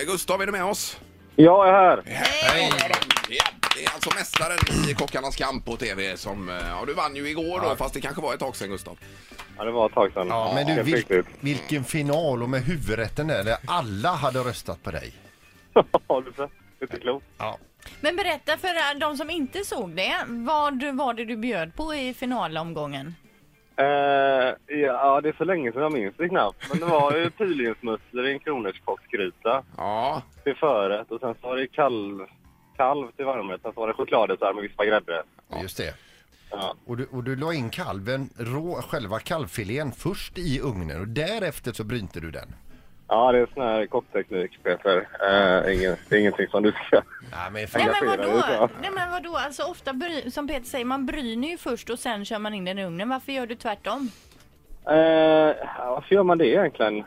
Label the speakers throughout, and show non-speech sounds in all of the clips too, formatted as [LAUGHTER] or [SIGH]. Speaker 1: eh, Gustav, är du med oss?
Speaker 2: Jag är här.
Speaker 1: Hej! Ja, det är alltså mästaren i Kockarnas kamp på TV som... eh, Ja, du vann ju igår då, fast det kanske var ett tag sedan, Gustav.
Speaker 2: Ja, det var ett tag sedan.
Speaker 3: Ja, men du,
Speaker 2: Helt
Speaker 3: vil,
Speaker 2: riktigt. [LAUGHS]
Speaker 3: vilken final och med huvudrätten där, där alla hade röstat på dig.
Speaker 2: Ja, du ser. Det är inte klokt.
Speaker 3: Ja.
Speaker 4: Men berätta för de som inte såg det, vad var det du bjöd på i finalomgången?
Speaker 2: Eh, ja, det är så länge sedan jag minns det knappt. Men det var
Speaker 3: [LAUGHS]
Speaker 2: ju pilgrimsmusslor i en kronärtskocksgryta
Speaker 1: Ja,
Speaker 2: till förrätt och sen så var det kalv, kalv till varmrätt. Sen så var det chokladdessert med vispad grädde.
Speaker 3: Just det.
Speaker 2: Ja.
Speaker 3: Och du, och du la in kalven, rå, själva kalvfilén först i ugnen och därefter så brynte du den.
Speaker 2: ja, det är sån här kockteknik, Peter. Eh, ingen, det är ingenting som du ska...
Speaker 3: Nej, men
Speaker 4: Nej
Speaker 3: fan,
Speaker 4: men
Speaker 2: Engagerade,
Speaker 4: vadå?
Speaker 2: ja.
Speaker 4: Nej men vadå? Alltså ofta, bry, som Peter säger, man bryner ju först och sen kör man in den i ugnen. Varför gör du tvärtom?
Speaker 2: Eh, ja, varför gör man det egentligen?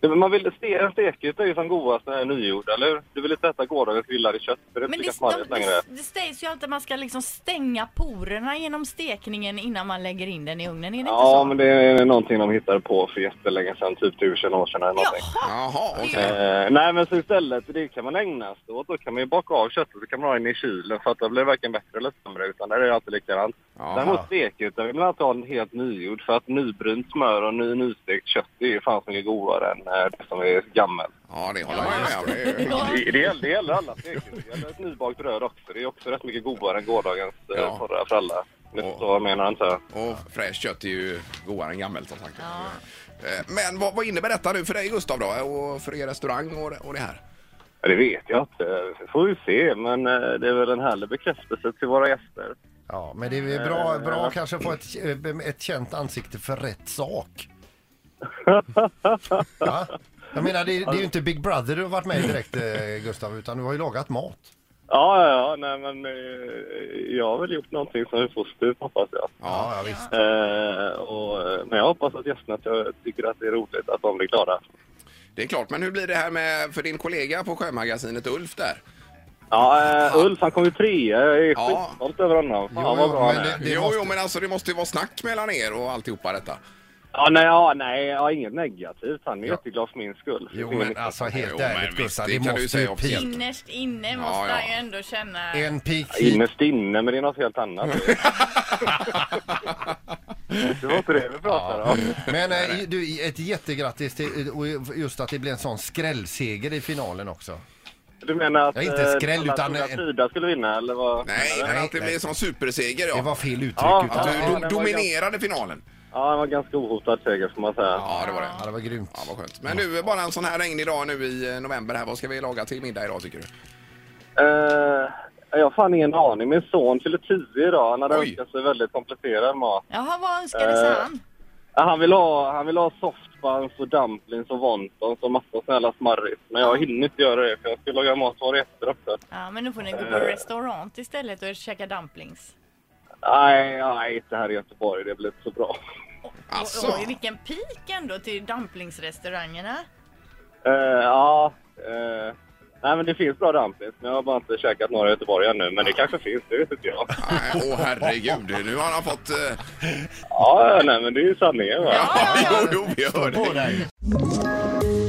Speaker 2: Det- Man vill, ste, en stekgryta är ju som godast när den är nygjord, eller hur? Du vill inte äta gårdagens grillade kött, för det är inte
Speaker 4: Men
Speaker 2: lika
Speaker 4: det,
Speaker 2: smarrigt
Speaker 4: de,
Speaker 2: längre.
Speaker 4: det, det sägs ju alltid att man ska liksom stänga porerna genom stekningen innan man lägger in den i ugnen. Är det
Speaker 2: Ja, men
Speaker 4: inte så?
Speaker 2: det är någonting de hittade på för jättelänge sedan, typ tusen år sedan eller någonting.
Speaker 4: Jaha!
Speaker 1: jaha, okej.
Speaker 2: Eh, nej, men så istället, det kan man ägna sig åt. Då kan man ju baka av köttet och kan man ha in i kylen för att då blir det varken bättre eller sämre, utan där är det alltid likadant.
Speaker 1: Jaha.
Speaker 2: Däremot stekgrytan vill man alltid ha en helt nygjord för att nybrynt smör och ny, nystekt kött det är ju fan så mycket godare än eh, det som är gammalt.
Speaker 1: Ja, det håller jag med om. Det är-
Speaker 4: Ja.
Speaker 2: Det, det, gäller, det gäller alla stekgrytor. Det gäller ett nybakt bröd också. Det är också rätt mycket godare än gårdagens eh,
Speaker 1: Ja.
Speaker 2: torra fralla. Ni
Speaker 1: Ja.
Speaker 2: förstår vad jag menar, antar jag.
Speaker 1: Och fräscht kött är ju godare än gammalt som sagt. Eh, Men vad, vad innebär detta nu för dig Gustav då? Och för er restaurang och, och det här?
Speaker 2: Ja, det vet jag inte. Får vi se. Men eh, det är väl en härlig bekräftelse till våra gäster.
Speaker 3: ja, men det är väl bra, bra att kanske få ett, eh, ett känt ansikte för rätt [LAUGHS] sak. Ja. Jag menar, det, det är ju inte Big Brother du har varit med i direkt, eh, Gustav, utan du har ju lagat mat.
Speaker 2: Ja, ja, ja. Nej, men eh, jag har väl gjort någonting som är positivt, hoppas jag.
Speaker 3: Ja, ja visst.
Speaker 2: Eh, och, eh, men jag hoppas att gästerna ty- tycker att det är roligt, att de blir glada.
Speaker 1: Det är klart, men hur blir det här med för din kollega på Sjömagasinet Ulf där?
Speaker 2: Ja, eh, Ulf han kom ju trea. Jag är
Speaker 1: Ja.
Speaker 2: skitstolt över honom. Fan,
Speaker 3: Jo,
Speaker 2: vad
Speaker 3: jo,
Speaker 2: bra han
Speaker 3: men
Speaker 2: är.
Speaker 3: det-
Speaker 1: jo,
Speaker 3: måste-
Speaker 1: jo, men alltså det måste ju vara snack mellan er och alltihopa detta.
Speaker 2: Ja, nej, ja, nej ja, inget negativt. Han är jätteglad för min skull.
Speaker 3: Jo,
Speaker 2: Ingen-
Speaker 3: men alltså
Speaker 1: Jo,
Speaker 3: helt
Speaker 1: men
Speaker 3: ärligt
Speaker 1: visst,
Speaker 3: Gustav,
Speaker 1: det
Speaker 3: det
Speaker 1: kan du ju
Speaker 3: måste
Speaker 1: säga
Speaker 3: ju
Speaker 1: officiellt.
Speaker 3: peak.
Speaker 4: Innerst inne måste
Speaker 1: Ja, ja.
Speaker 4: han ju ändå känna...
Speaker 3: En peak hit
Speaker 2: Innerst inne, men det är något helt
Speaker 3: [LAUGHS]
Speaker 2: annat. [LAUGHS] det var inte det vi pratade om.
Speaker 3: Men eh, du, ett jättegrattis till, eh, och just att det blev en sån skrällseger i finalen också.
Speaker 2: Du menar att
Speaker 3: Ja, inte
Speaker 2: eh,
Speaker 3: skräll,
Speaker 2: alla
Speaker 3: utan
Speaker 2: trodde att
Speaker 3: en-
Speaker 2: Frida skulle vinna, eller vad?
Speaker 1: Nej, men
Speaker 3: nej,
Speaker 1: att det
Speaker 3: nej.
Speaker 1: blir som superseger
Speaker 3: Det
Speaker 1: ja.
Speaker 3: var fel uttryck.
Speaker 2: Ja,
Speaker 3: utan,
Speaker 1: Att
Speaker 3: ja,
Speaker 1: du
Speaker 2: ja,
Speaker 1: dom-
Speaker 2: det var
Speaker 1: dominerade finalen.
Speaker 2: Ja, han var ganska ohotad seger, får man säga.
Speaker 1: Ja, det var det.
Speaker 3: det var grymt.
Speaker 1: Ja, vad skönt. Men du, bara en sån här regnig dag nu i eh, november här. Vad ska vi laga till middag idag tycker du?
Speaker 2: Eh, jag har fan ingen aning. Min son fyller tio idag. Han hade
Speaker 1: Oj.
Speaker 2: önskat sig väldigt komplicerad mat.
Speaker 4: Jaha, vad önskade sig
Speaker 2: Eh,
Speaker 4: han?
Speaker 2: Ja, Han vill ha, han vill ha softbuns och dumplings och wontons och massa snälla smarrigt. Men jag hinner inte göra det, för jag ska laga mat var efter också.
Speaker 4: Ja, men nu får ni gå
Speaker 2: Eh.
Speaker 4: på restaurang istället och käka dumplings.
Speaker 2: Nej, nej, inte här i Göteborg. Det blir inte så bra.
Speaker 1: Alltså.
Speaker 4: Oj, vilken pik ändå till dumplingsrestaurangerna.
Speaker 2: Eh, ja. eh, nej, men det finns bra dumplings. Men jag har bara inte käkat några i Göteborg ännu. Men det kanske finns, det vet inte
Speaker 3: [LAUGHS]
Speaker 2: jag.
Speaker 1: Nej, Åh herregud, nu har han fått... eh,
Speaker 2: Ja, nej, men det är ju sanningen. Va?
Speaker 4: Ja, ja.
Speaker 1: [LAUGHS] Jo, jo, vi hör det.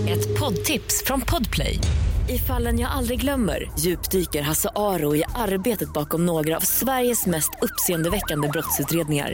Speaker 5: Ett poddtips från Podplay. I fallen jag aldrig glömmer djupdyker Hasse Aro i arbetet bakom några av Sveriges mest uppseendeväckande brottsutredningar.